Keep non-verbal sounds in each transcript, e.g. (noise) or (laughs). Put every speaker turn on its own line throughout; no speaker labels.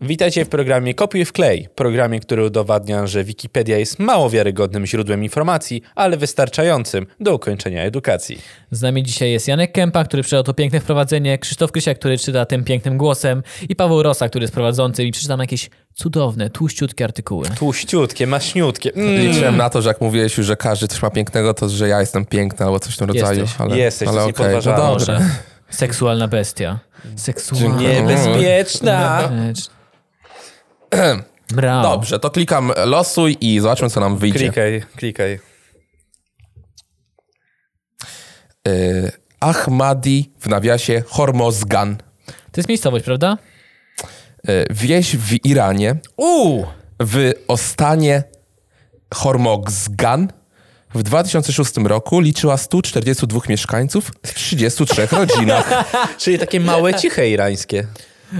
Witajcie w programie Kopiuj w klej, programie, który udowadnia, że Wikipedia jest mało wiarygodnym źródłem informacji, ale wystarczającym do ukończenia edukacji.
Z nami dzisiaj jest Janek Kępa, który przeczytał to piękne wprowadzenie, Krzysztof Krysiak, który czyta tym pięknym głosem i Paweł Rosa, który jest prowadzącym i przeczytam jakieś cudowne, tłuściutkie artykuły.
Tłuściutkie, maśniutkie. Mm.
Liczyłem na to, że jak mówiłeś już, że każdy coś ma pięknego, to że ja jestem piękny albo coś w tym rodzaju.
Jesteś.
ale,
Jesteś,
ale
to jest
okej,
niepodważalne.
no dobra.
Może. Seksualna bestia. Seksualna.
Niebezpieczna!
Rzecz. Mrał.
Dobrze, to klikam e, losuj i zobaczmy, co nam wyjdzie.
Klikaj, klikaj.
Y, Ahmadi w nawiasie Hormozgan.
To jest miejscowość, prawda?
Y, wieś w Iranie,
Uuu!
w ostanie Hormozgan w 2006 roku liczyła 142 mieszkańców
(laughs)
w 33 rodzinach.
Czyli takie małe, ciche irańskie.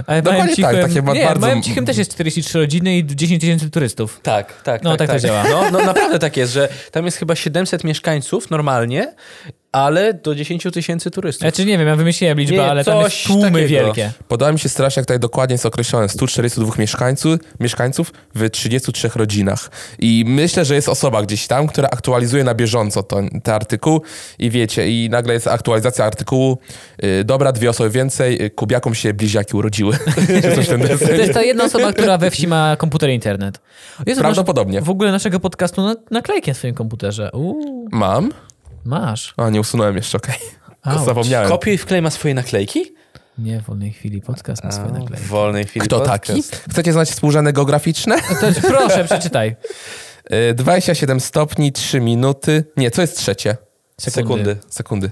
Ale
Dokładnie
małym
tak,
cichym,
takie ma-
nie,
bardzo-
małym cichym też jest 43 rodziny i 10 tysięcy turystów.
Tak, tak.
No, tak to działa.
No, no naprawdę tak jest, że tam jest chyba 700 mieszkańców normalnie, ale do 10 tysięcy turystów.
Znaczy nie wiem, ja wymyśliłem liczbę,
Nie,
ale tam
coś
jest tłumy
takiego.
wielkie.
Podoba mi się strasznie, jak tutaj dokładnie jest określone. 142 mieszkańców, mieszkańców w 33 rodzinach. I myślę, że jest osoba gdzieś tam, która aktualizuje na bieżąco ten, ten artykuł. I wiecie, i nagle jest aktualizacja artykułu. Yy, dobra, dwie osoby więcej, yy, kubiakom się bliźniaki urodziły. (laughs) Czy coś w tym
To
desenie.
jest ta jedna osoba, która we wsi ma komputer i internet. Jezu,
Prawdopodobnie.
masz W ogóle naszego podcastu na, naklejkę w swoim komputerze. Uuu,
Mam?
masz.
A, nie usunąłem jeszcze, okej.
Auć.
Zapomniałem.
Kopiuj w klej ma swoje naklejki?
Nie, w wolnej chwili podcast ma swoje
W
naklejki.
wolnej chwili.
Kto
podcast.
taki? Chcecie znać współrzędy geograficzne?
To, proszę, przeczytaj.
Yy, 27 stopni, 3 minuty. Nie, co jest trzecie?
Sekundy.
Sekundy.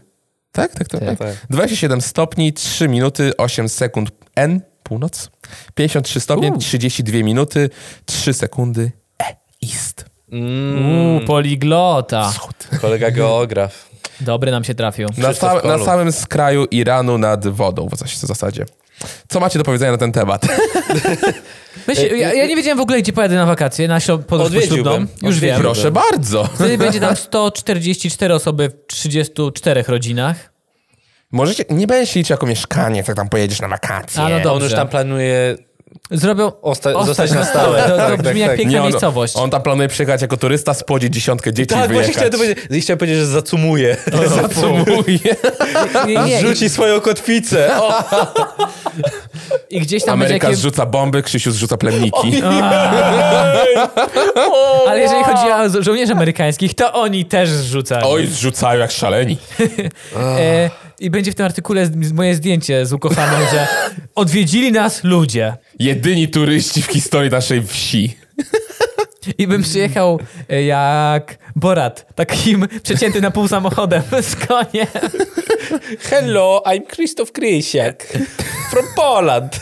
Tak, tak, tak.
Tak.
tak.
Tak.
27 stopni, 3 minuty, 8 sekund N, północ. 53 stopnie,
Uuu.
32 minuty, 3 sekundy E, East.
Mm,
Uuu, poliglota.
kolega geograf.
Dobry nam się trafił.
Na,
Krzysztof
sa- na
Kolumb.
samym skraju Iranu nad wodą w zas- w zasadzie. Co macie do powiedzenia na ten temat?
Myśl, ja, ja nie wiedziałem w ogóle, gdzie pojadę na wakacje, na ślub-
e,
podróż
Odwiedziłbym.
poślubną. Już wiem.
Odwiedziłbym.
Proszę bardzo.
(laughs) Wtedy będzie tam 144 osoby w 34 rodzinach.
Możecie, nie będę się liczyć jako mieszkanie, jak tam pojedziesz na wakacje.
A, no
On
dobrze.
już tam planuje
Zrobią...
osta-
Osta-
zostać na stałe.
(laughs)
Tak,
To- to brzmi jak piękna
no,
on,
miejscowość.
on tam planuje przyjechać jako turysta, spłodzić dziesiątkę dzieci
Tak,
i
właśnie
wyjechać.
chciałem, to powiedzieć, chciałem powiedzieć, że (laughs) zacumuje.
Zacumuje.
Nie,
(laughs)
nie,
Rzuci swoją kotwicę. O,
I gdzieś tam
Ameryka
będzie...
zrzuca bomby, Krzysiu zrzuca plemniki.
Ale jeżeli chodzi o żo- żołnierzy amerykańskich, to oni też zrzucają.
Oj, zrzucają jak szaleni.
E, I będzie w tym artykule z- moje zdjęcie z ukochaną,
(laughs)
że odwiedzili nas ludzie.
Jedyni turyści w historii naszej wsi.
I bym przyjechał e, jak Borat, takim przecięty na pół samochodem (laughs) z koniem.
hello, I'm Krzysztof Krysiak from Poland.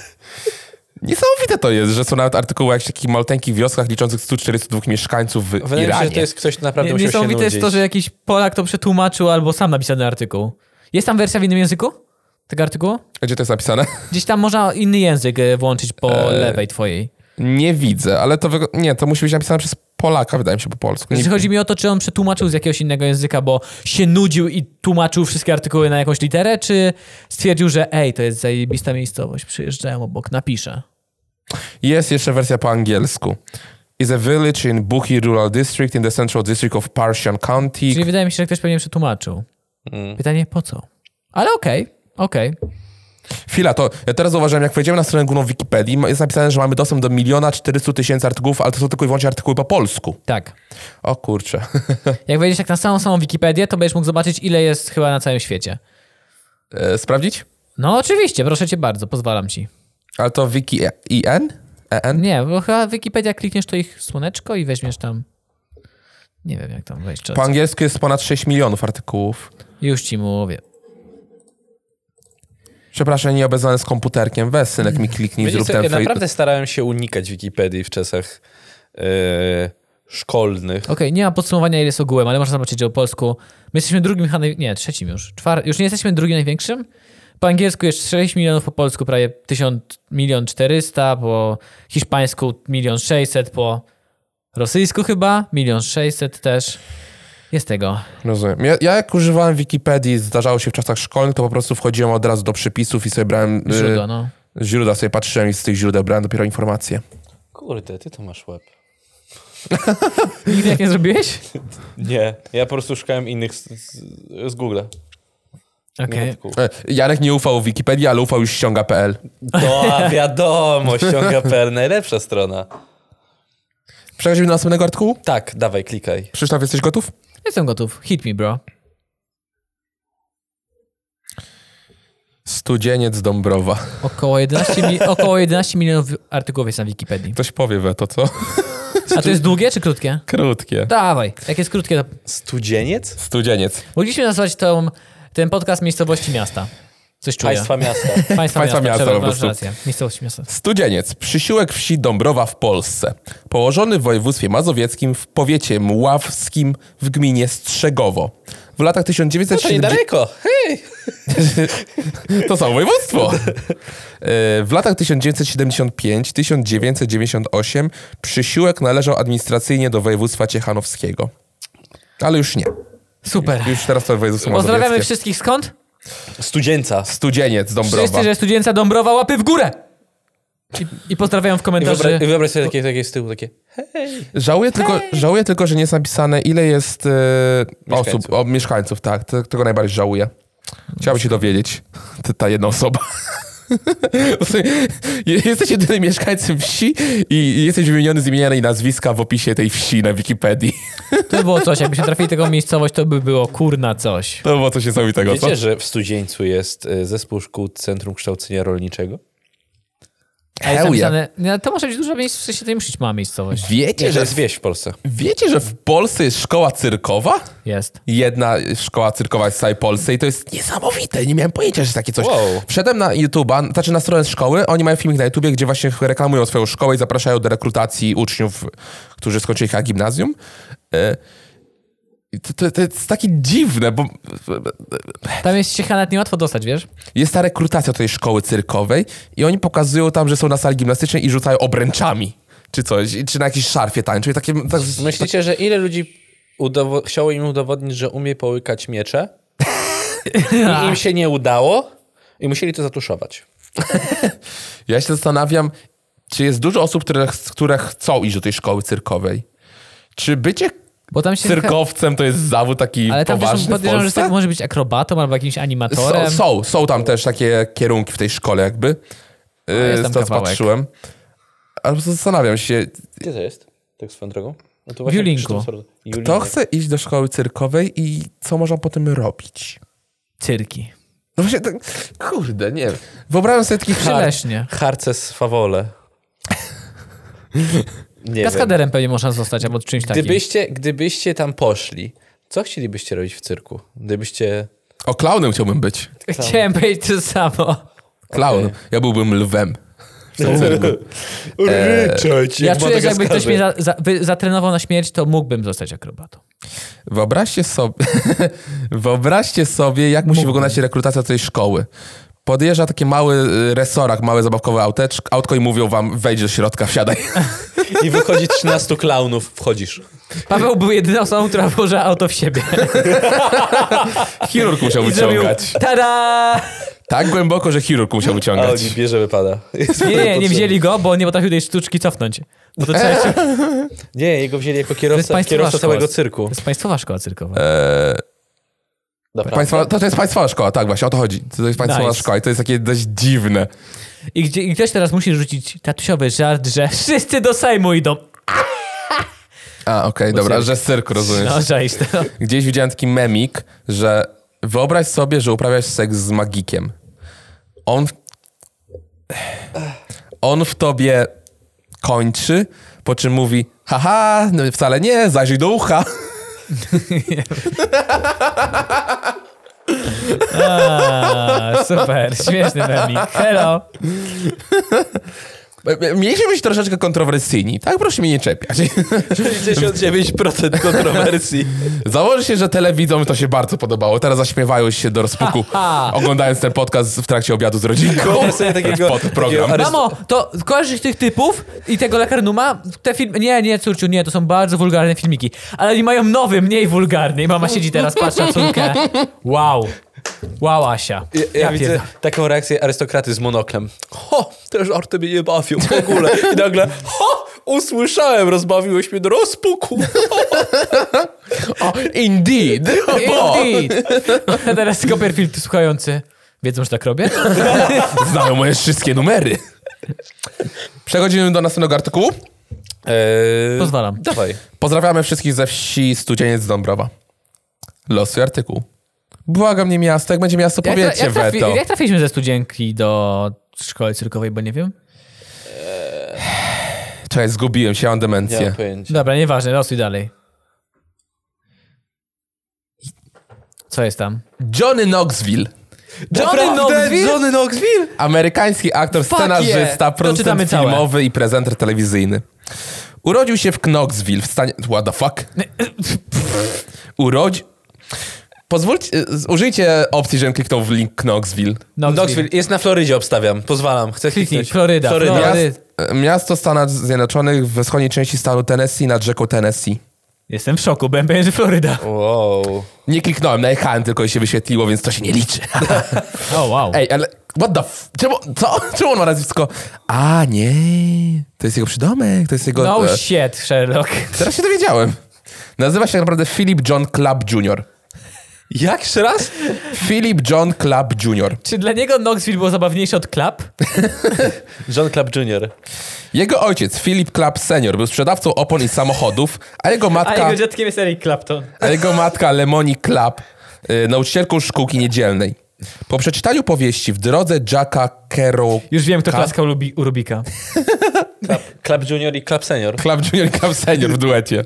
Niesamowite to jest, że są nawet artykuły jak w takich malteńkich wioskach liczących 142 mieszkańców w
Wydaje mi się,
Iranie.
że to jest ktoś, kto naprawdę
Nie-
musiał się
Niesamowite
nudzić.
jest to, że jakiś Polak to przetłumaczył albo sam napisał ten artykuł. Jest tam wersja w innym języku? Tego artykułu?
Gdzie to jest napisane? (laughs)
Gdzieś tam można inny język e, włączyć po
E,
lewej twojej.
Nie widzę, ale to wygo- nie, to musi być napisane przez Polaka, wydaje mi się, po polsku. Nie,
Jeśli Znaczy, chodzi mi o to, czy on przetłumaczył z jakiegoś innego języka, bo się nudził i tłumaczył wszystkie artykuły na jakąś literę, czy stwierdził, że ej, to jest zajebista miejscowość, przyjeżdżałem obok, napiszę.
Jest jeszcze wersja po angielsku. Is a village in Buhi Rural District in the central district of Parsian County.
Czyli wydaje mi się, że ktoś pewnie przetłumaczył. Pytanie po co? Ale okej, okej.
Chwila, to ja teraz zauważyłem, jak wejdziemy na stronę główną Wikipedii, ma- jest napisane, że mamy dostęp do miliona 400 tysięcy artykułów, ale to są tylko i wyłącznie artykuły po polsku.
Tak.
O kurczę. (laughs)
Jak wejdziesz tak na samą samą Wikipedię, to będziesz mógł zobaczyć, ile jest chyba na całym świecie.
E, Sprawdzić?
No oczywiście, proszę cię bardzo, pozwalam ci.
Ale to wiki E- IN? EN?
Nie, bo chyba Wikipedia klikniesz to ich słoneczko i weźmiesz tam... Nie wiem, jak tam wejść. czy-
Po angielsku jest ponad 6 milionów artykułów.
Już ci mówię.
Przepraszam, nie obezwany z komputerkiem. Weź, synek, mi kliknij,
Wiecie
zrób
co, ja
ten fej...
naprawdę starałem się unikać Wikipedii w czasach e, szkolnych.
Okej, nie ma podsumowania, ile jest ogółem, ale można zobaczyć, że po polsku my jesteśmy drugim, chyba naj- nie, trzecim już, czwartym, już nie jesteśmy drugim największym. Po angielsku jest 6 milionów, po polsku prawie 1000, milion 400, po hiszpańsku milion 600, po rosyjsku chyba milion 600 też. Jest tego.
Rozumiem. Ja, ja jak używałem Wikipedii, zdarzało się w czasach szkolnych, to po prostu wchodziłem od razu do przypisów i sobie brałem... y,
Źródła, no.
źródła sobie patrzyłem i z tych źródeł brałem dopiero informacje.
Kurde, ty to masz łeb.
Nigdy jak nie zrobiłeś?
Nie, ja po prostu szukałem innych z, z, z Google.
Okej.
Nie
E, Jarek nie ufał Wikipedii, ale ufał już ściąga.pl.
To a wiadomo, ściąga.pl, najlepsza strona.
Przechodzimy do następnego artykułu.
Tak, dawaj, klikaj.
Krzysztof, jesteś gotów?
Jestem gotów. Hit me, bro.
Studzieniec Dąbrowa.
Około 11, mi- około 11 milionów artykułów jest na Wikipedii.
Ktoś powie we to, co? (laughs)
A to jest długie czy krótkie?
Krótkie.
Dawaj. Jak jest krótkie, to
Studzieniec?
Studzieniec.
mogliśmy nazwać tą, ten podcast miejscowości miasta. Coś czuję.
Państwa (laughs) miasta.
Państwa,
Państwa miasta,
miasta,
po
przepraszam,
prostu.
masz rację. Miejscowości miasta.
Studzieniec, przysiłek wsi Dąbrowa w Polsce. Położony w województwie mazowieckim w powiecie mławskim w gminie Strzegowo. W latach
To
1970...
niedaleko. Hej!
To samo województwo. E, W latach 1975-1998 przysiłek należał administracyjnie do województwa ciechanowskiego. Ale już nie.
Super.
Już teraz to województwo
Pozdrawiamy
mazowieckie.
wszystkich skąd?
Studzieńca.
Studzieniec Dąbrowa.
Wszyscy, że studzienca Dąbrowa łapy w górę! I, i pozdrawiam w
I wyobraź,
komentarzy.
i wyobraź sobie takie, takie z tyłu, takie
Żałuję tylko, żałuję tylko, że nie jest napisane ile jest e,
Mieszkańców.
osób, o, mieszkańców, tak. Te- Tego najbardziej żałuję. Chciałbym się dowiedzieć. (laughs) Ty- Ta jedna osoba. (laughs) jesteś jedynym mieszkańcem wsi i jesteś wymieniony z imienia i nazwiska w opisie tej wsi na Wikipedii. (laughs)
To by było coś. Jakbyśmy trafili tego miejscowość, to by było kurna coś.
To było coś niesamowitego, co?
Wiecie, że w Studzieńcu jest y, zespół szkół Centrum Kształcenia Rolniczego?
A jest
Hell
napisane, no, to może być dużo miejsc, w sensie to już ma miejscowość.
Wiecie,
Nie, to
że,
jest wieś w Polsce.
wiecie, że w Polsce jest szkoła cyrkowa?
Jest.
Jedna szkoła cyrkowa jest w całej Polsce i to jest niesamowite. Nie miałem pojęcia, że jest takie coś.
Wow.
Wszedłem na YouTube'a, znaczy na stronę szkoły. Oni mają filmik na YouTubie, gdzie właśnie reklamują swoją szkołę i zapraszają do rekrutacji uczniów, którzy skończyli H gimnazjum. E, i To, to, to jest takie dziwne, bo
Tam jest się nawet niełatwo dostać, wiesz?
jest ta rekrutacja do tej szkoły cyrkowej i oni pokazują tam, że są na sali gimnastycznej i rzucają obręczami. Czy coś, i- czy na jakiś szarfie tańczą i takie... Tak,
Myślicie, że ile ludzi udowo- chciało im udowodnić, że umie połykać miecze? I im się nie udało? I musieli to zatuszować.
Ja się zastanawiam, czy jest dużo osób, które, ch- które chcą iść do tej szkoły cyrkowej. Czy bycie
Bo tam się...
cyrkowcem to jest zawód taki
Ale tam też
poważny w
podejrzewam, że
Polsce?
tak może być akrobatą albo jakimś animatorem.
Są, są, są tam też takie kierunki w tej szkole jakby.
jest
Yy,
tam
stąd
kawałek.
patrzyłem. Ale po prostu zastanawiam się,
Gdzie to jest? Tak swoją drogą? No to
Julinku.
Krzysztof Sordo-
kto
Julinek.
chce iść do szkoły cyrkowej i co można po tym robić?
Cyrki.
No właśnie, tak, kurde, nie wiem. Wyobrażam sobie taki hard,
Przyleśnie.
Harce z Fawole. Nie wiem.
Kaskaderem pewnie można zostać albo czymś takim.
Gdybyście, gdybyście tam poszli, co chcielibyście robić w cyrku? Gdybyście...
O, klaunem chciałbym być.
Chciałem powiedzieć to samo.
Klaun. Ja byłbym lwem.
(laughs) Ryczeć,
Ja czuję, że jakby ktoś mnie za, za, wy- zatrenował na śmierć, to mógłbym zostać akrobatą.
Wyobraźcie sobie, (laughs) wyobraźcie sobie, jak musi wyglądać rekrutacja tej szkoły. Podjeżdża taki mały y, resorak, małe zabawkowe auteczk, autko i mówią wam, wejdź do środka, wsiadaj.
I wychodzi 13 klaunów, wchodzisz.
Paweł był jedyną osobą, która włożyła auto w siebie.
(laughs) Chirurg musiał wyciągać.
Tada!
Tak głęboko, że chirurg (laughs) musiał
A
wyciągać.
oni bierze wypada.
(laughs) Nie, nie, nie wzięli go, bo nie potrafił tej sztuczki cofnąć. Bo to, trzeba się, to
Nie, jego wzięli jako
jest
kierowca,
państwowa
kierowca
szkoła.
całego cyrku.
jest państwowa szkoła cyrkowa.
Dobra.
Państwa, to, to jest państwowa szkoła, tak właśnie, o to chodzi. To jest państwowa
Nice.
szkoła i to jest takie dość dziwne.
I, gdzie, I ktoś teraz musi rzucić tatusiowy żart, że wszyscy do Sejmu idą.
A, okej, dobra,
cyrk.
że cyrk, rozumiesz.
No, żeś to.
Gdzieś widziałem taki memik, że wyobraź sobie, że uprawiasz seks z magikiem. On w... On w tobie kończy, po czym mówi haha, no wcale nie, zajrzyj do ucha. (laughs)
A, super, śmieszny memik. Hello.
Mieliśmy być troszeczkę kontrowersyjni, tak? Proszę mnie nie czepiać. (laughs)
69% kontrowersji.
Założę się, że telewidzom to się bardzo podobało. Teraz zaśmiewają się
(laughs)
do rozpuku, oglądając ten podcast w trakcie obiadu z rodzinką.
Wyobraź sobie takiego-
(laughs) Pod program.
takiego-
Mamo, to kojarzysz tych typów i tego lekarnuma? Te filmy... Nie, nie, córciu, nie, to są bardzo wulgarne filmiki. Ale oni mają nowy, mniej wulgarny. I mama siedzi teraz, patrzy na córkę. Wow. Wow, Asia.
Ja, ja
pierdolę.
widzę taką reakcję arystokraty z monoklem. Ho, te żarty mnie nie bawią w ogóle. I nagle, ho, usłyszałem, rozbawiłeś mnie do rozpuku.
O,
(laughs)
indeed!
Indeed. A teraz Copperfield słuchający. Wiedzą, że tak robię?
Znają moje wszystkie numery. Przechodzimy do następnego artykułu.
Eee,
Pozwalam.
Dawaj. Pozdrawiamy.
Pozdrawiamy wszystkich ze wsi Studzieniec Dąbrowa. Losuj artykuł. Błagam nie miasto, jak będzie miasto,
Jak,
powiedzcie
jak, trafi,
weto.
jak trafiliśmy ze studzienki do szkoły cyrkowej, bo nie wiem?
Czekaj, zgubiłem się, ja mam
Nie mam
demencję.
pojęcia.
Dobra, nieważne, losuj dalej. Co jest tam?
Johnny Knoxville.
Johnny Knoxville?
Johnny Knoxville?
Amerykański aktor,
Fuck
scenarzysta,
yeah. Doczytamy
producent
całe.
filmowy i prezenter telewizyjny. Urodził się w Knoxville w stanie... What the fuck? Urodzi... Pozwólcie, y, użyjcie opcji, żebym kliknął w link Knoxville.
No,
Knoxville. No, Jest na Florydzie, obstawiam. Pozwalam. Chcę
Kliknij,
kliknąć.
Floryda, Floryda.
Miast,
Flory-
miasto Stanów Zjednoczonych we wschodniej części stanu Tennessee nad rzeką Tennessee.
Jestem w szoku, byłem pewien, że Floryda.
Wow.
Nie kliknąłem, najechałem tylko i się wyświetliło, więc to się nie
(laughs)
liczy.
O, wow.
Ej, ale what the f... Czemu, co? (laughs) Czemu on ma nazwisko? A, nie. To jest jego przydomek, to jest jego...
No
e,
shit, Sherlock. (laughs)
Teraz się dowiedziałem. Nazywa się tak naprawdę Philip John Clubb Jr.
Jak jeszcze raz?
Philip John Clubb Jr.
Czy dla niego Knoxville było zabawniejsze od Club?
John Club Jr.
Jego ojciec, Philip Clubb Senior, był sprzedawcą opon i samochodów, a jego
A
matka,
jego dziadkiem jest Eric Clapton.
a jego matka Lemoni Clubb, y, nauczycielką szkółki niedzielnej. Po przeczytaniu powieści w drodze Jacka Kerouaca...
Już wiem, kto
Ka-
klaskał Lubi- u Rubika.
Club Junior i Club Senior.
Club Junior, Club Senior w duecie.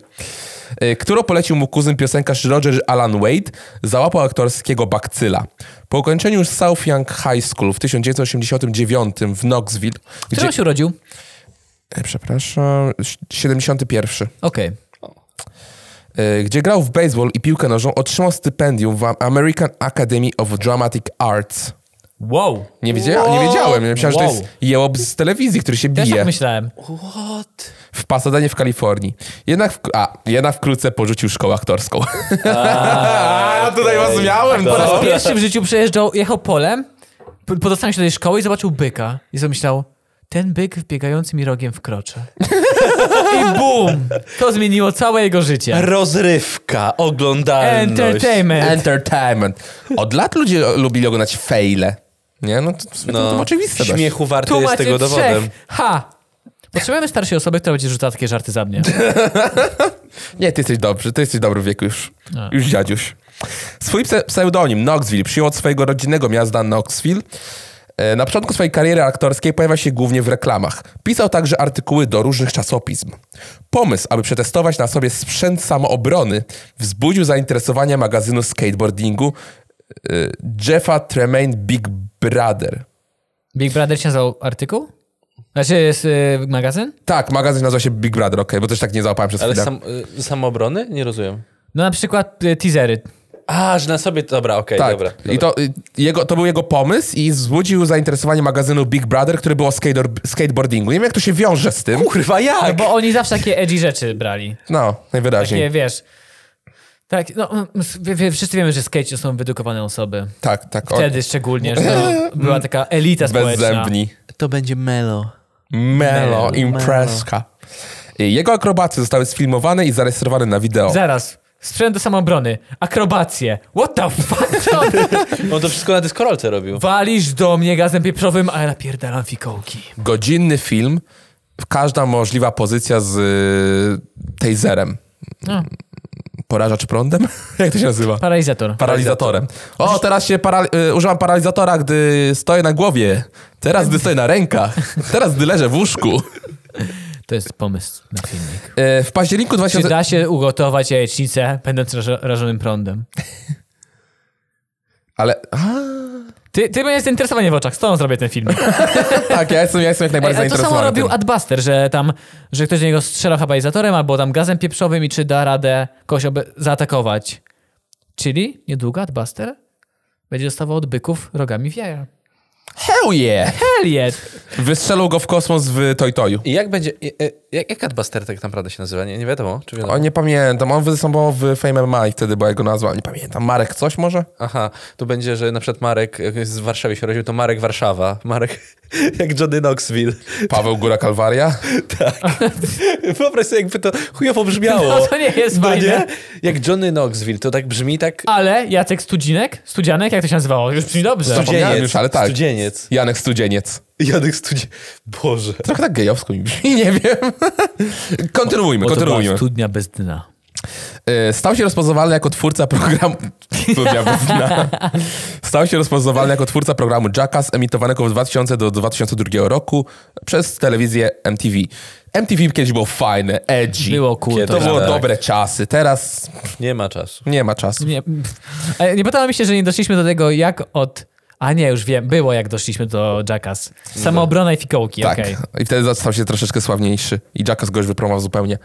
y, Którą polecił mu kuzyn piosenkarz Roger Alan Wade, załapał aktorskiego bakcyla. Po ukończeniu South Young High School w 1989 w Knoxville,
Czy on się urodził?
E, Przepraszam, ś- 71.
Okej.
e, Gdzie grał w baseball i piłkę nożną, otrzymał stypendium w Am- American Academy of Dramatic Arts.
Wow.
Nie, wiedzia- nie wiedziałem, ja myślałem, że to
Wow.
jest jełob z telewizji, który się
Też
bije
tak myślałem.
What?
w Pasadenie w Kalifornii. Jednak, w, a, jednak wkrótce porzucił szkołę aktorską. (laughs) A, tutaj was miałem, no.
Po raz
co?
pierwszy w życiu przejeżdżał, jechał polem, po- po dostaniu się do tej szkoły i zobaczył byka. I zamyślał, ten byk wbiegający mi rogiem wkroczy. (laughs) I bum! To zmieniło całe jego życie.
Rozrywka, oglądalność.
Entertainment.
Entertainment. Od lat ludzie lubili oglądać fejle. Nie, no to, to, to oczywiste. dość.
Śmiechu warty
Tu
jest
macie
tego dowodem.
trzech. Ha! Potrzebujemy starszej osoby, która będzie rzucała takie żarty za mnie.
Nie, ty jesteś dobry, ty jesteś dobry w wieku już.
A.
Już dziadziuś. Swój pse- pseudonim Knoxville przyjął od swojego rodzinnego miasta Knoxville. E, Na początku swojej kariery aktorskiej pojawia się głównie w reklamach. Pisał także artykuły do różnych czasopism. Pomysł, aby przetestować na sobie sprzęt samoobrony, wzbudził zainteresowanie magazynu skateboardingu e, Jeffa Tremaine Big Brother.
Big Brother się nazywał artykuł? Znaczy jest y, magazyn?
Tak, magazyn nazywa się Big Brother, okej, bo też tak nie załapałem przez
Ale
chwilę.
sam, y, samobrony? Nie rozumiem.
No na przykład y, teasery.
A, że na sobie... Dobra, okej,
Tak.
dobra.
I to, y, jego, to był jego pomysł i wzbudził zainteresowanie magazynu Big Brother, który był o skater, skateboardingu. Nie wiem, jak to się wiąże z tym.
Kurwa,
No
jak?
bo oni zawsze takie edgy rzeczy brali.
No, najwyraźniej.
Nie, wiesz. Tak, no, mm, wie, wie, wszyscy wiemy, że skate to są wyedukowane osoby.
Tak, tak. O,
Wtedy szczególnie, że to była taka elita społeczna.
bezzębni.
To będzie Melo.
Melo,
Melo.
impreska. I Jego akrobacje zostały sfilmowane i zarejestrowane na wideo.
Zaraz, sprzęt do samoobrony, akrobacje. What the fuck? Co on-
On to wszystko na dyskorolce robił.
Walisz do mnie gazem pieprzowym, a ja napierdalam fikołki.
Godzinny film, każda możliwa pozycja z y, taserem.
No.
Porażacz prądem? (laughs) jak to się nazywa?
Paralizator.
Paralizatorem. O, teraz się paral- y, używam paralizatora, gdy stoję na głowie. Teraz, gdy stoję na rękach. Teraz, gdy leżę w łóżku.
To jest pomysł na filmik.
E, w październiku
Czy
2000...
da się ugotować jajecznicę będąc rażo- rażonym prądem?
Ale... A,
Ty, ty miałeś zainteresowanie w oczach, z tobą zrobię ten (laughs) film.
tak, ja jestem, ja jestem jak najbardziej
Ale to samo
zainteresowany
robił
tym.
Adbuster, że tam, że ktoś do niego strzela hapalizatorem albo tam gazem pieprzowym i czy da radę kogoś obe- zaatakować. Czyli niedługo Adbuster będzie dostawał od byków rogami w jaja.
Hell yeah!
Hell yeah!
Wystrzelał go w kosmos w Toy Toyu.
I jak będzie... i- e, Jak, jak Adbuster tak naprawdę się nazywa? Nie, nie wiadomo, czy wiadomo?
O, nie pamiętam, on występował w Fame MMA i wtedy była jego nazwa, nie pamiętam. Marek coś może?
Aha, tu będzie, że na przykład Marek jak z Warszawy się rodził, to Marek Warszawa. Marek (laughs) jak Johnny Knoxville. (laughs) Tak.
Paweł Góra (laughs) Kalwaria?
(laughs)
Wyobraź sobie, jakby to chujowo brzmiało.
No to nie jest
No
fajne.
nie? Jak Johnny Knoxville, to tak brzmi tak...
Ale Jacek Studzinek? Studzianek? Jak to się nazywało? Już brzmi dobrze.
Studzianek.
Studzieniec,
już, ale tak.
Studzieniec.
Janek Studzieniec.
Jadek studzie... tak Boże.
Trochę tak gejowsko mi brzmi, (laughs) nie wiem. Kontynuujmy,
Bo to była
kontynuujmy.
studnia bez dna.
E, Stał się rozpoznawalny jako twórca programu... (laughs) Studia bez dna. Stał się rozpoznawalny jako twórca programu Jackass, emitowanego od 2000 do 2002 roku przez telewizję MTV. MTV kiedyś było fajne, edgy.
Było cool.
Kiedy
To
To
było
Tak.
dobre czasy, teraz
Nie ma czasu.
nie ma czasu.
nie, pff. Ale nie podoba mi się, że nie doszliśmy do tego, jak od... A nie, już wiem, było jak doszliśmy do Jackass. Samoobrona i fikołki,
Tak.
okej.
I wtedy stał się troszeczkę sławniejszy i Jackass go już wypromował zupełnie.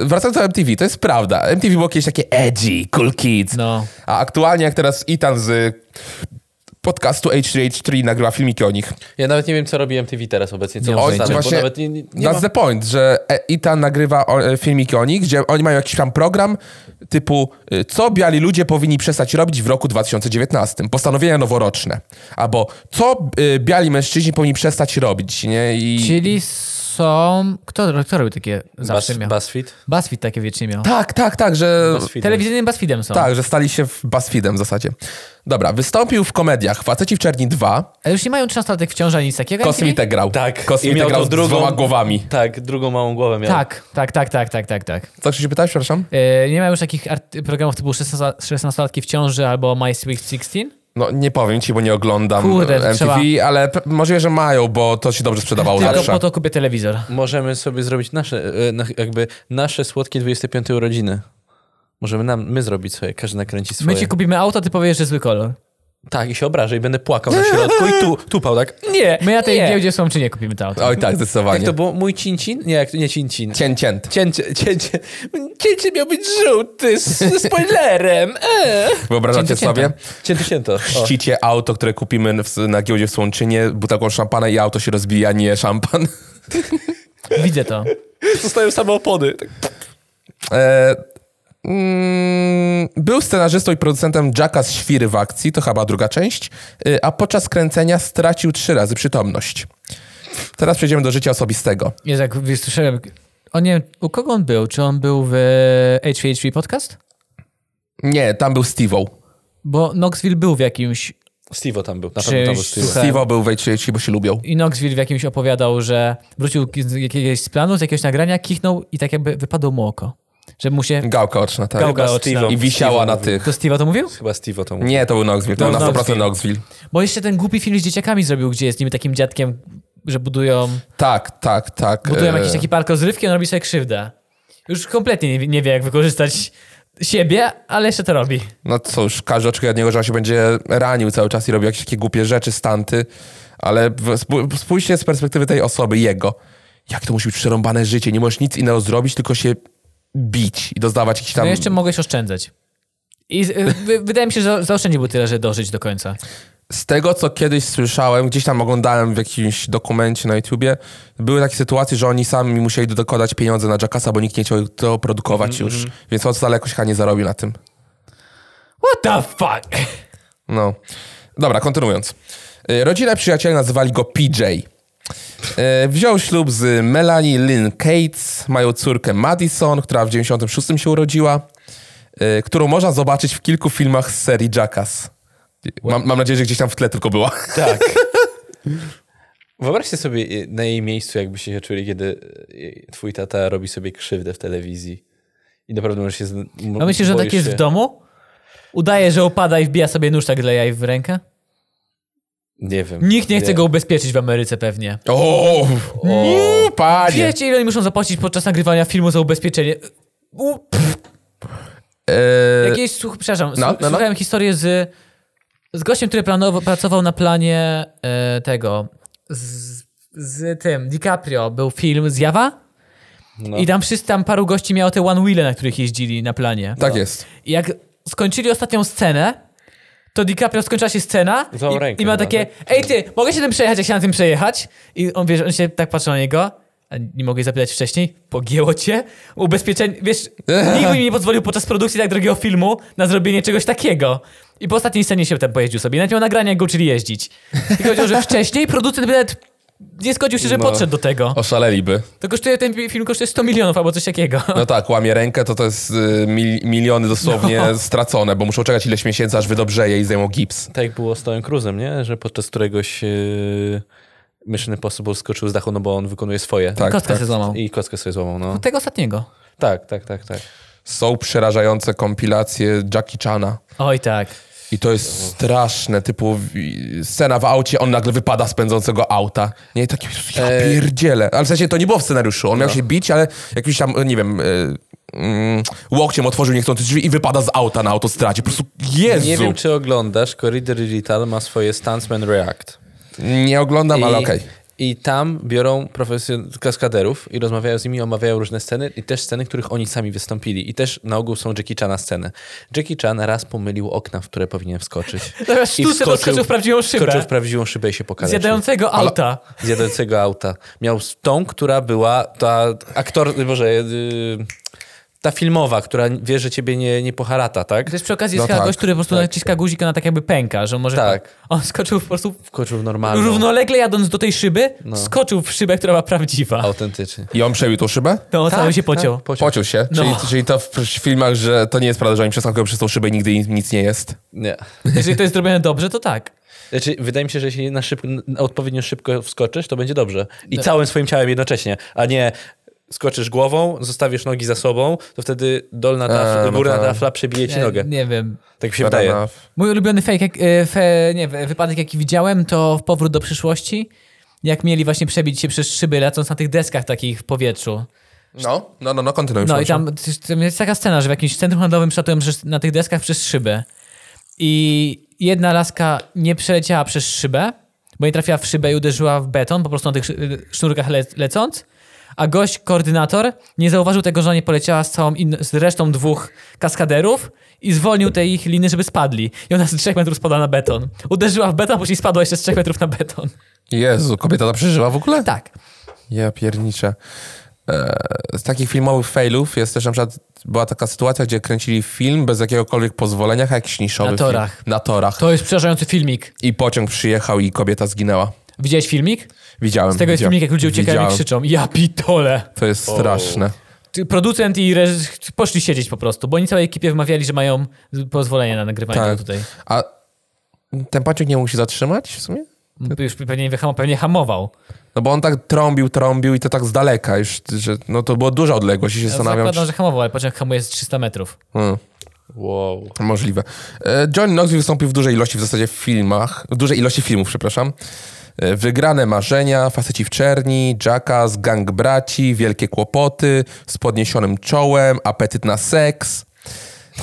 Wracając do MTV, to jest prawda. MTV było kiedyś takie edgy, cool kids.
No.
A aktualnie jak teraz Ethan z podcastu H3H3 nagrywa filmiki o nich.
Ja nawet nie wiem, co robi MTV teraz obecnie, co
Nie
nie
ma
on
pojęcia.
znaczy, bo
Właśnie
nawet nie, nie, nie
That's
ma...
the point, że e- Ethan nagrywa o, e, filmiki o nich, gdzie oni mają jakiś tam program typu y, co biali ludzie powinni przestać robić w roku 2019, postanowienia noworoczne. Albo co y, biali mężczyźni powinni przestać robić, nie? I...
Czyli są... Kto, kto robił takie zawsze
Bas,
miał?
Buzzfeed?
BuzzFeed takie wiecznie miał.
Tak, tak, tak, że...
Buzzfeed.
Telewizyjnym BuzzFeedem są.
Tak, że stali się w BuzzFeedem w zasadzie. Dobra, wystąpił w komediach Faceci w Czerni 2,
Ale już nie mają 13-latek w ciąży ani nic takiego.
Kosmitę grał.
Tak. I
Kosmitę
miał
grał
tą
z
drugą-
dwoma głowami.
Tak, drugą małą głowę miał.
Tak, tak, tak, tak, tak, tak, tak.
Co się pytałeś, przepraszam?
E, nie ma już takich art- programów typu 16 16-latki w ciąży albo My Sweet 16?
No nie powiem ci, bo nie oglądam
Kurde,
MTV,
trzeba-
ale p- możliwe, że mają, bo to się dobrze sprzedawało
Tylko
zawsze.
po to kupię telewizor.
Możemy sobie zrobić nasze, e, na- jakby nasze słodkie 25 urodziny. Możemy nam, my zrobić swoje, każdy nakręci swoje.
My ci kupimy auto, ty powiesz, że zły kolor.
Tak, i się obrażę i będę płakał na środku i tu, tupał, tak?
Nie, My na tej
nie.
giełdzie są, czy nie kupimy to auto.
Oj tak,
Jak
zdecydowanie.
to było? Mój cincin? Nie, jak, nie cincin.
Cien, cięt.
Cięcie, cięcie. Cięcie miał być żółty z, ze spoilerem. E.
Wyobrażacie
Cięto, cięto.
sobie?
Cięto, cięto. O.
Chrzcicie auto, które kupimy w, na giełdzie w Słonczynie, butelką szampana i auto się rozbija, nie szampan. (laughs)
Widzę to.
Zostają same opony. Tak.
E, mm, był scenarzystą i producentem Jacka z Świry w akcji, to chyba druga część, y, a podczas kręcenia stracił trzy razy przytomność. Teraz przejdziemy do życia osobistego.
Jest jak wysłyszałem. O nie, u kogo on był? Czy on był w HVHV podcast?
Nie, tam był Steve'o.
Bo Knoxville był w jakimś.
Steve'o tam był, na
Czyś-
pewno tam był Steve'o.
Tak.
Steve'o był w HHC, bo się lubią.
I Knoxville w jakimś opowiadał, że wrócił k- z jakiegoś z planu, z jakiegoś nagrania, kichnął i tak jakby wypadło mu oko. Że mu się.
Gałka oczna, tak.
Gałka
Chyba
oczna.
Steve'o-
I wisiała
Steve'o
na
mówił.
tych.
To Steve'a to mówił?
Chyba Steve'o to mówił.
Nie, to był Knoxville, to
No,
był na 100%
Knoxville.
Knoxville.
Bo jeszcze ten głupi film z dzieciakami zrobił, gdzie jest niby takim dziadkiem, że budują,
Tak, tak, tak.
budują
e,
jakiś taki park rozrywki, on robi sobie krzywdę. Już kompletnie nie, nie wie, jak wykorzystać siebie, ale jeszcze to robi.
No cóż, każdy oczekuje od niego, że on się będzie ranił cały czas i robił jakieś takie głupie rzeczy, stanty, ale w- spó- spójrzcie z perspektywy tej osoby, jego. Jak to musi być przerąbane życie? Nie możesz nic innego zrobić, tylko się bić i dostawać jakiś tam...
No jeszcze mogłeś oszczędzać. I z- y, wy, wydaje mi się, że zaoszczędził tyle, że dożyć do końca.
Z tego, co kiedyś słyszałem, gdzieś tam oglądałem w jakimś dokumencie na YouTubie, były takie sytuacje, że oni sami musieli dokładać pieniądze na Jackassa, bo nikt nie chciał to produkować
Mhm,
już, więc on wcale jakoś chyba nie zarobił na tym.
What the fuck?
No. Dobra, kontynuując. Y, Rodzina przyjaciela nazywali go PJ. Y, Wziął ślub z Melanie Lynn Cates, mają córkę Madison, która w 96 się urodziła, y, którą można zobaczyć w kilku filmach z serii Jackass. Mam, mam nadzieję, że gdzieś tam w tle tylko była. (laughs)
Tak. Wyobraźcie sobie e, na jej miejscu, jakby się czuli, kiedy e, twój tata robi sobie krzywdę w telewizji. I naprawdę możesz się... z- m-
A myślisz, że on
boisz
tak jest
się.
w domu? Udaje, że upada i wbija sobie nóż tak dla jaj w rękę?
Nie wiem.
Nikt nie chce go ubezpieczyć w Ameryce pewnie.
O, o panie!
Wiecie, ile oni muszą zapłacić podczas nagrywania filmu za ubezpieczenie? U,
E,
Jakieś, słuch, przepraszam,
no,
no,
no.
słuchałem historię z, z gościem, który planował, pracował na planie e, tego, z, z tym, DiCaprio, był film Zjawa
No.
i tam wszyscy, tam paru gości miało te one wheele, na których jeździli na planie.
tak jest.
I jak skończyli ostatnią scenę, to DiCaprio skończyła się scena
Złamał
i,
rękę
no,
i ma
chyba,
takie,
tak?
ej ty, mogę się tym przejechać, jak się na tym przejechać? I on, wiesz, on się tak patrzy na niego, a nie mogę zapytać wcześniej, pogięło cię? Ubezpieczenie,
(laughs)
wiesz, nikt mi nie pozwolił podczas produkcji tak drogiego filmu na zrobienie czegoś takiego. I po ostatniej scenie się tam pojeździł sobie. Nawet miał nagrania, jak go uczyli jeździć. I chodziło, że wcześniej producent by nawet nie zgodził się, że
No.
podszedł do tego.
Oszaleliby.
To kosztuje, ten pi- film kosztuje 100 milionów albo coś takiego. (laughs)
No tak, łamie rękę, to to jest y, mil, miliony dosłownie stracone, bo muszą czekać ileś miesięcy, aż wydobrzeje i zajmą gips.
Tak jak było z Tomem Cruzem, nie? Że podczas któregoś yy, Mission Impossible skoczył z dachu, no bo on wykonuje swoje.
Tak,
Kostkę
tak.
się złamał.
I kostkę sobie złamał, no.
Tego ostatniego.
Tak, tak, tak, tak.
Są przerażające kompilacje Jackie Chana.
Oj tak.
I to jest straszne, typu w- scena w aucie, on nagle wypada z pędzącego auta. Nie, taki, ja
E,
pierdzielę. Ale w sensie to nie było w scenariuszu, on
no.
miał się bić, ale jakiś tam, nie wiem, y, mm, łokciem otworzył niechcący drzwi i wypada z auta na autostradzie. Po prostu, Jezu!
Nie wiem, czy oglądasz, Corridor Digital ma swoje Stuntsman React.
Nie oglądam, ale okej.
I tam biorą profesjon- kaskaderów i rozmawiają z nimi, omawiają różne sceny i też sceny, których oni sami wystąpili. I też na ogół są Jackie Chana sceny. Jackie Chan raz pomylił okna, w które powinien wskoczyć.
Zamiast
I
sztuce to skoczył w prawdziwą szybę.
Skoczył w prawdziwą szybę i się pokazał.
Zjadającego auta.
Zjadającego auta. Miał z- tą, która była ta aktor... Boże... Yy, ta filmowa, która wie, że ciebie nie, nie poharata, tak?
Też przy okazji
No
jest chyba
tak,
gość, który po prostu naciska guzik, ona tak jakby pęka, że on może...
Tak. no.
On skoczył po prostu
Wkoczył w normalną.
równolegle jadąc do tej szyby, skoczył w szybę, która była prawdziwa.
Autentycznie.
I on przebił tą szybę?
No, cały się pociął.
Tak, pociął.
Pociął się.
No.
Czyli, czyli to w filmach, że to nie jest prawda, że oni przeskakują przez tą szybę i nigdy im nic nie jest.
Nie.
Jeżeli to jest zrobione dobrze, to tak.
Znaczy, wydaje mi się, że jeśli na szybko, na odpowiednio szybko wskoczysz, to będzie dobrze. I
No.
całym swoim ciałem jednocześnie, a nie skoczysz głową, zostawisz nogi za sobą, to wtedy dolna tafla,
A, no
górna
tak.
tafla przebije ci
Ja
nogę.
Nie wiem.
Tak mi się
Fair
wydaje.
enough.
Mój ulubiony fake, jak, e, fe, nie, wy- wypadek jaki widziałem, to w Powrót do przyszłości, jak mieli właśnie przebić się przez szyby, lecąc na tych deskach takich w powietrzu.
No, no, no, no kontynuuj.
No i
przepraszam.
tam, też- tam jest taka scena, że w jakimś centrum handlowym szatują przez, na tych deskach przez szybę. I jedna laska nie przeleciała przez szybę, bo nie trafiła w szybę i uderzyła w beton, po prostu na tych szy- sznurkach le, lecąc. A gość, koordynator, nie zauważył tego, że ona nie poleciała z, całą in- z resztą dwóch kaskaderów i zwolnił te ich liny, żeby spadli. I ona z 3 metrów spadła na beton. Uderzyła w beton, a później spadła jeszcze z 3 metrów na beton.
Jezu, kobieta to przeżyła w ogóle?
Tak.
Ja pierniczę. E, Z takich filmowych failów jest też na przykład była taka sytuacja, gdzie kręcili film bez jakiegokolwiek pozwolenia, jakiś niszowy
Na torach.
Film. Na torach.
To jest przerażający filmik.
I pociąg przyjechał i kobieta zginęła.
Widziałeś filmik?
Widziałem.
Z tego jest
widziałem.
filmik, jak ludzie uciekają i
Widziałem.
krzyczą. Ja pitole!
To jest straszne.
Ty- producent i reżyser poszli siedzieć po prostu, bo oni całej ekipie wymawiali, że mają pozwolenie na nagrywanie
Tak.
tego tutaj.
A ten pociąg nie mógł się zatrzymać w sumie?
Już pewnie, nie wyham- pewnie hamował.
No bo on tak trąbił, trąbił i to tak z daleka już, że no to była duża odległość i się zastanawiam,
Zakładam,
czy...
że hamował, ale pociąg hamuje z 300 metrów.
Hmm.
Wow.
Możliwe. E, John Knoxville wystąpił w dużej ilości w zasadzie w filmach, w dużej ilości filmów, przepraszam. E, Wygrane marzenia, faceci w czerni, Jackass, gang braci, wielkie kłopoty, z podniesionym czołem, apetyt na seks,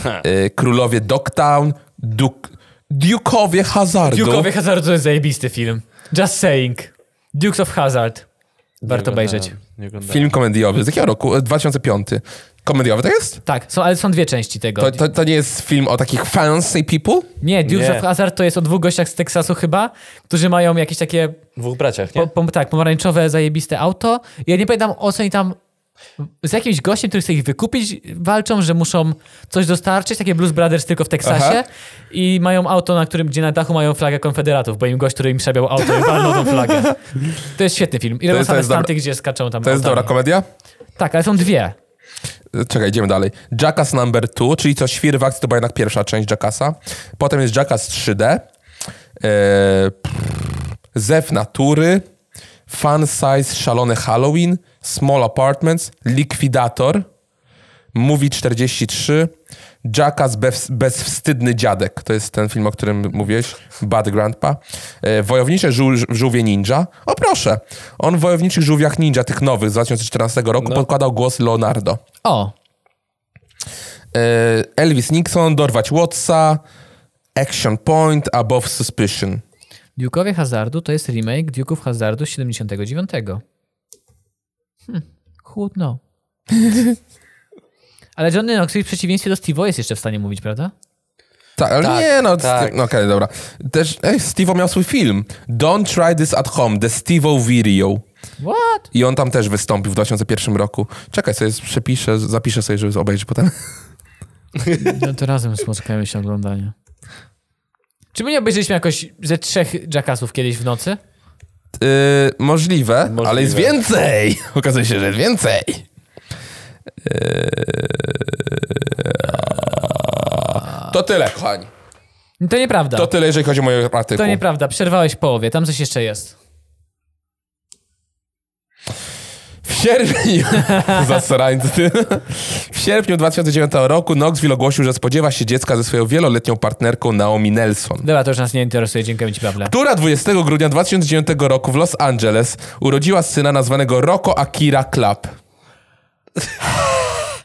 Ha.
e, królowie Dogtown, Duke, Dukeowie hazardu.
Duke'owie Hazard to jest zajebisty film. Just saying. Dukes of Hazard. Warto obejrzeć.
no.
Nie oglądałem.
Film komediowy. Z jakiego roku? E, 2005. Komediowy to jest?
Tak, są, ale są dwie części tego.
To, to, to nie jest film o takich fancy people?
Nie, Dukes
Nie.
of Hazard to jest o dwóch gościach z Teksasu chyba, którzy mają jakieś takie,
Dwóch braciach, nie?
po, po, tak, pomarańczowe, zajebiste auto. Ja nie pamiętam, o co oni tam z jakimś gościem, który chce ich wykupić, walczą, że muszą coś dostarczyć, takie Blues Brothers tylko w Teksasie
Aha.
i mają auto, na którym, gdzie na dachu mają flagę konfederatów, bo im gość, który im przebiał auto i walnął tą
(laughs)
flagę. To jest świetny film. I robią
jest- to
same
jest dobra-
stanty, gdzie skaczą tam
To jest
autami.
dobra komedia?
Tak, ale są dwie.
Czekaj, idziemy dalej. Jackass number 2, czyli co świr w akcji, to była jednak pierwsza część Jackassa. Potem jest Jackass 3D. E, pff, Zew natury. Fun size, szalony Halloween. Small apartments. Likwidator. Movie 43. Jackass bez, bezwstydny dziadek. To jest ten film, o którym mówiłeś. Bad Grandpa. E, wojownicze żół, żółwie ninja. O proszę. On w Wojowniczych Żółwiach Ninja, tych nowych z 2014 roku, podkładał głos Leonardo.
O,
E, Elvis Nixon, dorwać Wattsa, Action Point, Above Suspicion.
Duke'owie Hazardu to jest remake Duke'ów Hazardu z Hm, 79. Hmm, (laughs) chłodno. Ale Johnny Knoxville w przeciwieństwie do Steve'a jest jeszcze w stanie mówić, prawda?
Tak, ale
Tak,
nie, no,
tak.
tak. okej, dobra. Też, ej, Steve'o miał swój film. Don't Try This At Home, The Steve'o Video.
What?
I on tam też wystąpił w 2001 roku. Czekaj, sobie przepiszę, zapiszę sobie, żeby obejrzeć potem.
No to razem spotkajmy się oglądania. Czy my nie obejrzeliśmy jakoś ze trzech Jackassów kiedyś w nocy?
Yy, możliwe, ale jest więcej! (laughs) Okazuje się, że jest więcej! Yy, To tyle, kochani.
No To nieprawda.
To
To,
tyle, jeżeli chodzi o moje artykuł.
nieprawda. Przerwałeś w połowie. Tam coś jeszcze jest.
W sierpniu. (laughs) Zasrańcy. W sierpniu 2009 roku Knoxville ogłosił, że spodziewa się dziecka ze swoją wieloletnią partnerką Naomi Nelson.
Dobra, to już nas nie interesuje. Dziękujemy ci, Pawle.
Która 20 grudnia 2009 roku w Los Angeles urodziła syna nazwanego Rocco Akira Club.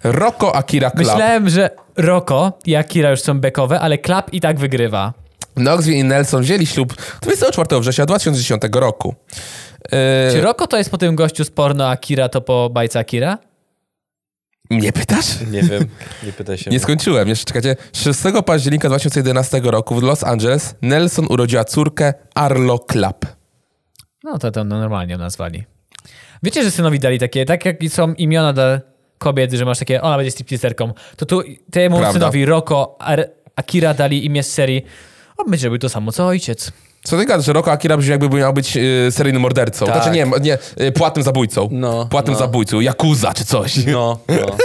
Rocco Akira Club.
Myślałem, że Roko i Akira już są bekowe, ale Klap i tak wygrywa.
Knoxville i Nelson wzięli ślub 24 września 2010 roku.
Czy
Yy,
Roko to jest po tym gościu z porno Akira, to po bajce Akira?
nie pytasz?
Nie wiem, nie pytaj się.
Nie skończyłem, jeszcze czekacie. 6 października 2011 roku w Los Angeles Nelson urodziła córkę Arlo Club.
No to tam normalnie ją nazwali. Wiecie, że synowi dali takie, tak jak są imiona dla kobiet, że masz takie, ona będzie stripteaserką, to tu temu
Prawda.
synowi Roko, Ar- Akira dali imię z serii, on będzie robił to samo co ojciec.
Co ty gadasz, że Roko Akira brzmi jakby miał być yy, seryjnym mordercą.
Tak.
Znaczy nie, nie yy, płatnym zabójcą.
No,
płatnym
no.
zabójcą, Yakuza czy coś.
No, no.
(laughs)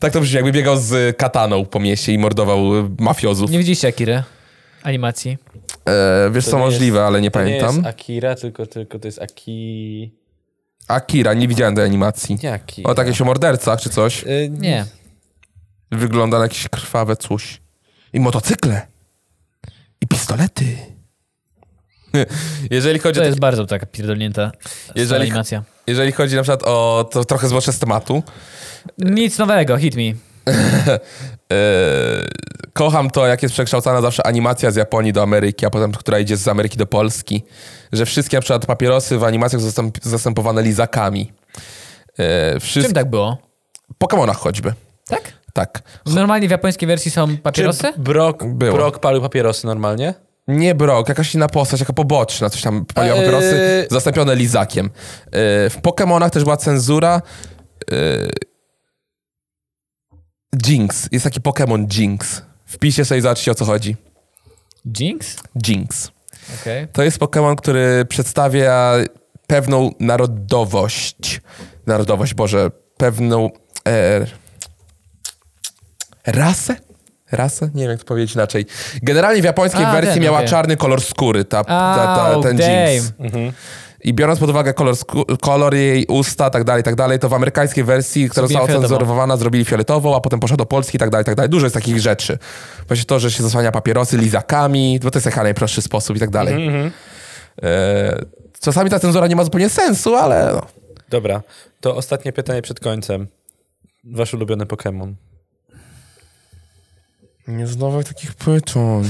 Tak to brzmi, jakby biegał z y, kataną po mieście i mordował y, mafiozów.
Nie widzieliście Akiry? Animacji?
E, wiesz
To
co,
nie
możliwe,
jest-
ale nie
to
pamiętam.
Nie jest Akira, tylko, tylko to jest Aki...
Akira, nie widziałem tej animacji.
Nie Akira.
O, tak. takie się o mordercach czy coś.
Y,
Nie.
Wygląda na jakieś krwawe coś. I motocykle. I pistolety. (laughs) Jeżeli chodzi,
To
o
jest bardzo taka pierdolnięta
Jeżeli-
Jeżeli... animacja.
jeżeli chodzi na przykład o to trochę zbocze z tematu.
Nic nowego, hit me.
e, kocham to, jak jest przekształcana zawsze animacja z Japonii do Ameryki, a potem która idzie z Ameryki do Polski. Że wszystkie na przykład papierosy w animacjach są zastęp- zastępowane lizakami. E,
Czym
wszystko...
tak było?
Pokemonach choćby.
Tak?
Tak.
Normalnie w japońskiej wersji są papierosy?
Czy Brock,
Było.
Brock palił papierosy normalnie?
Nie Brock, jakaś inna postać, jaka poboczna, coś tam paliła
A,
papierosy,
yy.
zastąpione lizakiem. Yy, w Pokemonach też była cenzura. Yy, Jinx. Jest taki Pokemon Jinx. Wpiszcie sobie i zobaczcie o co chodzi.
Jinx?
Jinx.
Okej.
To jest Pokemon, który przedstawia pewną narodowość. Narodowość, Boże, pewną. E, rasę? Rasę? Nie wiem, jak to powiedzieć inaczej. Generalnie w japońskiej
A,
wersji
ten,
miała
okej.
czarny kolor skóry, ta, ta, ta,
Au,
ten
damn.
jeans. I biorąc pod uwagę kolor, skó- kolor jej usta, tak dalej, tak dalej, to w amerykańskiej wersji, która
Zrobili
została
fioletową.
ocenzurowana, zrobili fioletową, a potem poszła do Polski, tak dalej, tak dalej. Dużo jest takich rzeczy. Właśnie to, że się zasłania papierosy lizakami, bo to jest jak najprostszy sposób i tak dalej. E, czasami ta cenzura nie ma zupełnie sensu, ale no.
Dobra, to ostatnie pytanie przed końcem. Wasz ulubiony Pokémon.
Nie znowu takich pytań.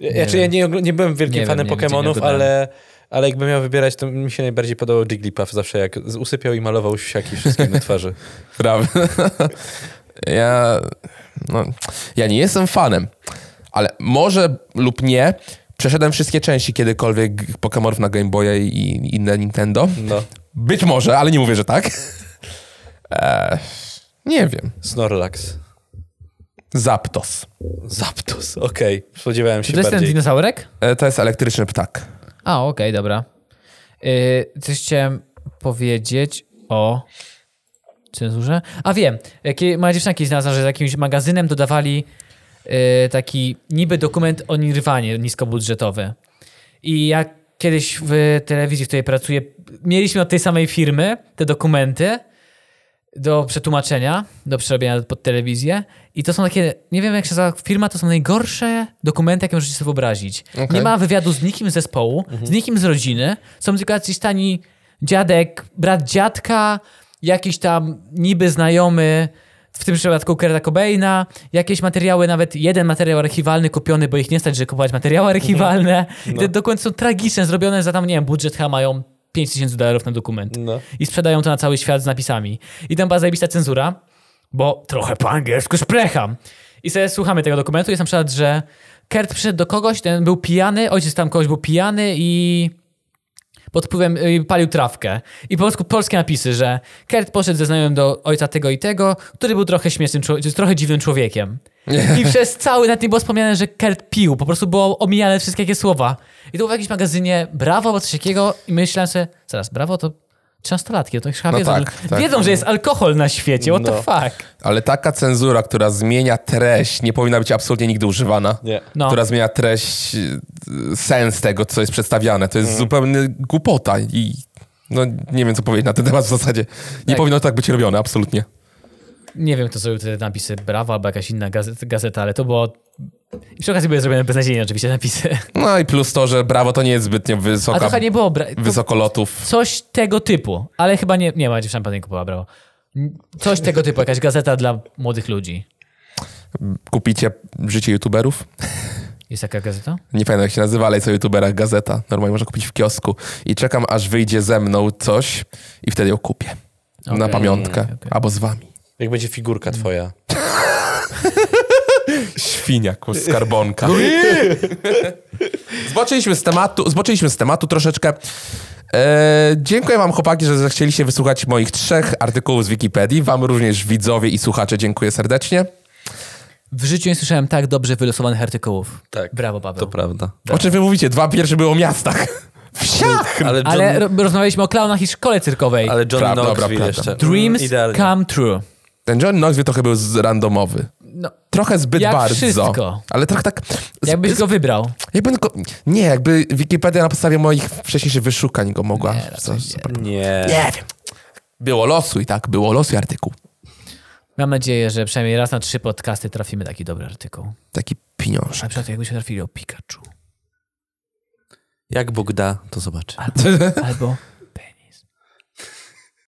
Ja, znaczy, ja nie, ogl- nie byłem wielkim
Nie
fanem
wiem, nie wiem,
Pokémonów,
gdzie nie
ale, ale jakbym miał wybierać, to mi się najbardziej podobał Jigglypuff zawsze, jak z- usypiał i malował siaki wszystkim na twarzy.
Prawda. (laughs) ja, no, ja nie jestem fanem, ale może lub nie, przeszedłem wszystkie części kiedykolwiek Pokemonów na Game Boya i inne Nintendo.
No,
Być może, ale nie mówię, że tak. (laughs) Eee, nie wiem.
Snorlax.
Zapdos.
Zapdos, okej, spodziewałem
Czy
się
to jest ten
bardziej.
dinozaurek?
E, to jest elektryczny ptak.
A, okej, dobra. Yy, coś chciałem powiedzieć o cenzurze. A wiem, jakie, moja dziewczyna kiedyś znalazła, że z jakimś magazynem dodawali yy, taki niby dokument o nirwanie niskobudżetowy. I ja kiedyś w telewizji, w której pracuję, mieliśmy od tej samej firmy te dokumenty do przetłumaczenia, do przerobienia pod telewizję. I to są takie, nie wiem jak się nazywa firma, to są najgorsze dokumenty, jakie możecie sobie wyobrazić. Nie ma wywiadu z nikim z zespołu, z nikim z rodziny. Są tylko jacyś tani dziadek, brat dziadka, jakiś tam niby znajomy, w tym przypadku Kerta Cobaina, jakieś materiały, nawet jeden materiał archiwalny kupiony, bo ich nie stać, że kupować materiały archiwalne. I te dokumenty są tragiczne, zrobione za tam, nie wiem, budżet H mają 5000 dolarów na dokument
No.
i sprzedają to na cały świat z napisami. I tam była zajebista cenzura, bo trochę po angielsku sprecham. I sobie słuchamy tego dokumentu. Jest na przykład, że Kurt przyszedł do kogoś, ten był pijany, ojciec tam kogoś był pijany i pod wpływem y, palił trawkę. I po polsku polskie napisy, że Kurt poszedł ze znajomym do ojca tego i tego, który był trochę śmiesznym, człowie- czy trochę dziwnym
(laughs)
człowiekiem. I przez cały net nie było wspomniane, że Kurt pił. Po prostu było omijane wszystkie takie słowa. I to było w jakimś magazynie Brawo albo coś takiego i myślałem sobie, zaraz, Brawo to 13-latki, to chyba
No
wiedzą,
tak,
że,
tak.
wiedzą, że jest alkohol na świecie, what
No.
the fuck.
Ale taka cenzura, która zmienia treść, nie powinna być absolutnie nigdy używana.
Nie.
No.
Która zmienia treść, y, y, sens tego, co jest przedstawiane. To jest
Mhm.
zupełnie głupota i no nie wiem, co powiedzieć na ten temat w zasadzie. Nie
Tak.
powinno tak być robione, absolutnie.
Nie wiem, kto zrobił te napisy Brawo albo jakaś inna gazeta, gazeta ale to było... I przy okazji były zrobione beznadziejnie oczywiście napisy.
No i plus to, że brawo to nie jest zbytnio
A to
wysoka,
chyba nie było... Bra- to
wysokolotów.
coś tego typu, ale chyba nie... Nie, ma dziewczyna pan nie kupowała Brawo. N- Coś tego typu, jakaś gazeta dla młodych ludzi.
Kupicie życie youtuberów?
Jest taka gazeta?
Nie pamiętam jak się nazywa, ale jest o youtuberach gazeta. Normalnie można kupić w kiosku. I czekam, aż wyjdzie ze mną coś i wtedy ją kupię. Na
Okej,
pamiątkę.
okej, okej.
Albo z wami.
Jak będzie figurka
Mm.
twoja.
Świniak,
No
skarbonka. zboczyliśmy, z tematu, zboczyliśmy z tematu troszeczkę. E, dziękuję wam chłopaki, że zechcieliście wysłuchać moich trzech artykułów z Wikipedii. Wam również widzowie i słuchacze dziękuję serdecznie.
Tak. W życiu nie słyszałem tak dobrze wylosowanych artykułów.
Tak.
Brawo,
To
Paweł.
prawda.
O czym wy mówicie? Dwa pierwsze były o miastach. Wsiach!
Ale John,
Ale
ale,
ro- rozmawialiśmy o klaunach i szkole cyrkowej.
John
Prawda,
Knoxville
dobra, prawda.
jeszcze.
Dreams
Mm, Idealnie.
come true.
Ten John Knoxville trochę był z- randomowy.
No,
Trochę zbyt
Jak
bardzo.
wszystko.
Ale trochę tak. z-
jakbyś
z-
go wybrał.
Jakby tylko, nie, jakby Wikipedia na podstawie moich wcześniejszych wyszukań go mogła.
Nie, raczej
co- co-
Nie.
nie wiem. Było losu i tak, było losu i artykuł.
Mam nadzieję, że przynajmniej raz na trzy podcasty trafimy taki dobry artykuł.
Taki
Na
pieniążek.
przykład jakbyśmy trafili o Pikachu.
Jak Bóg da, to zobaczy.
Albo, albo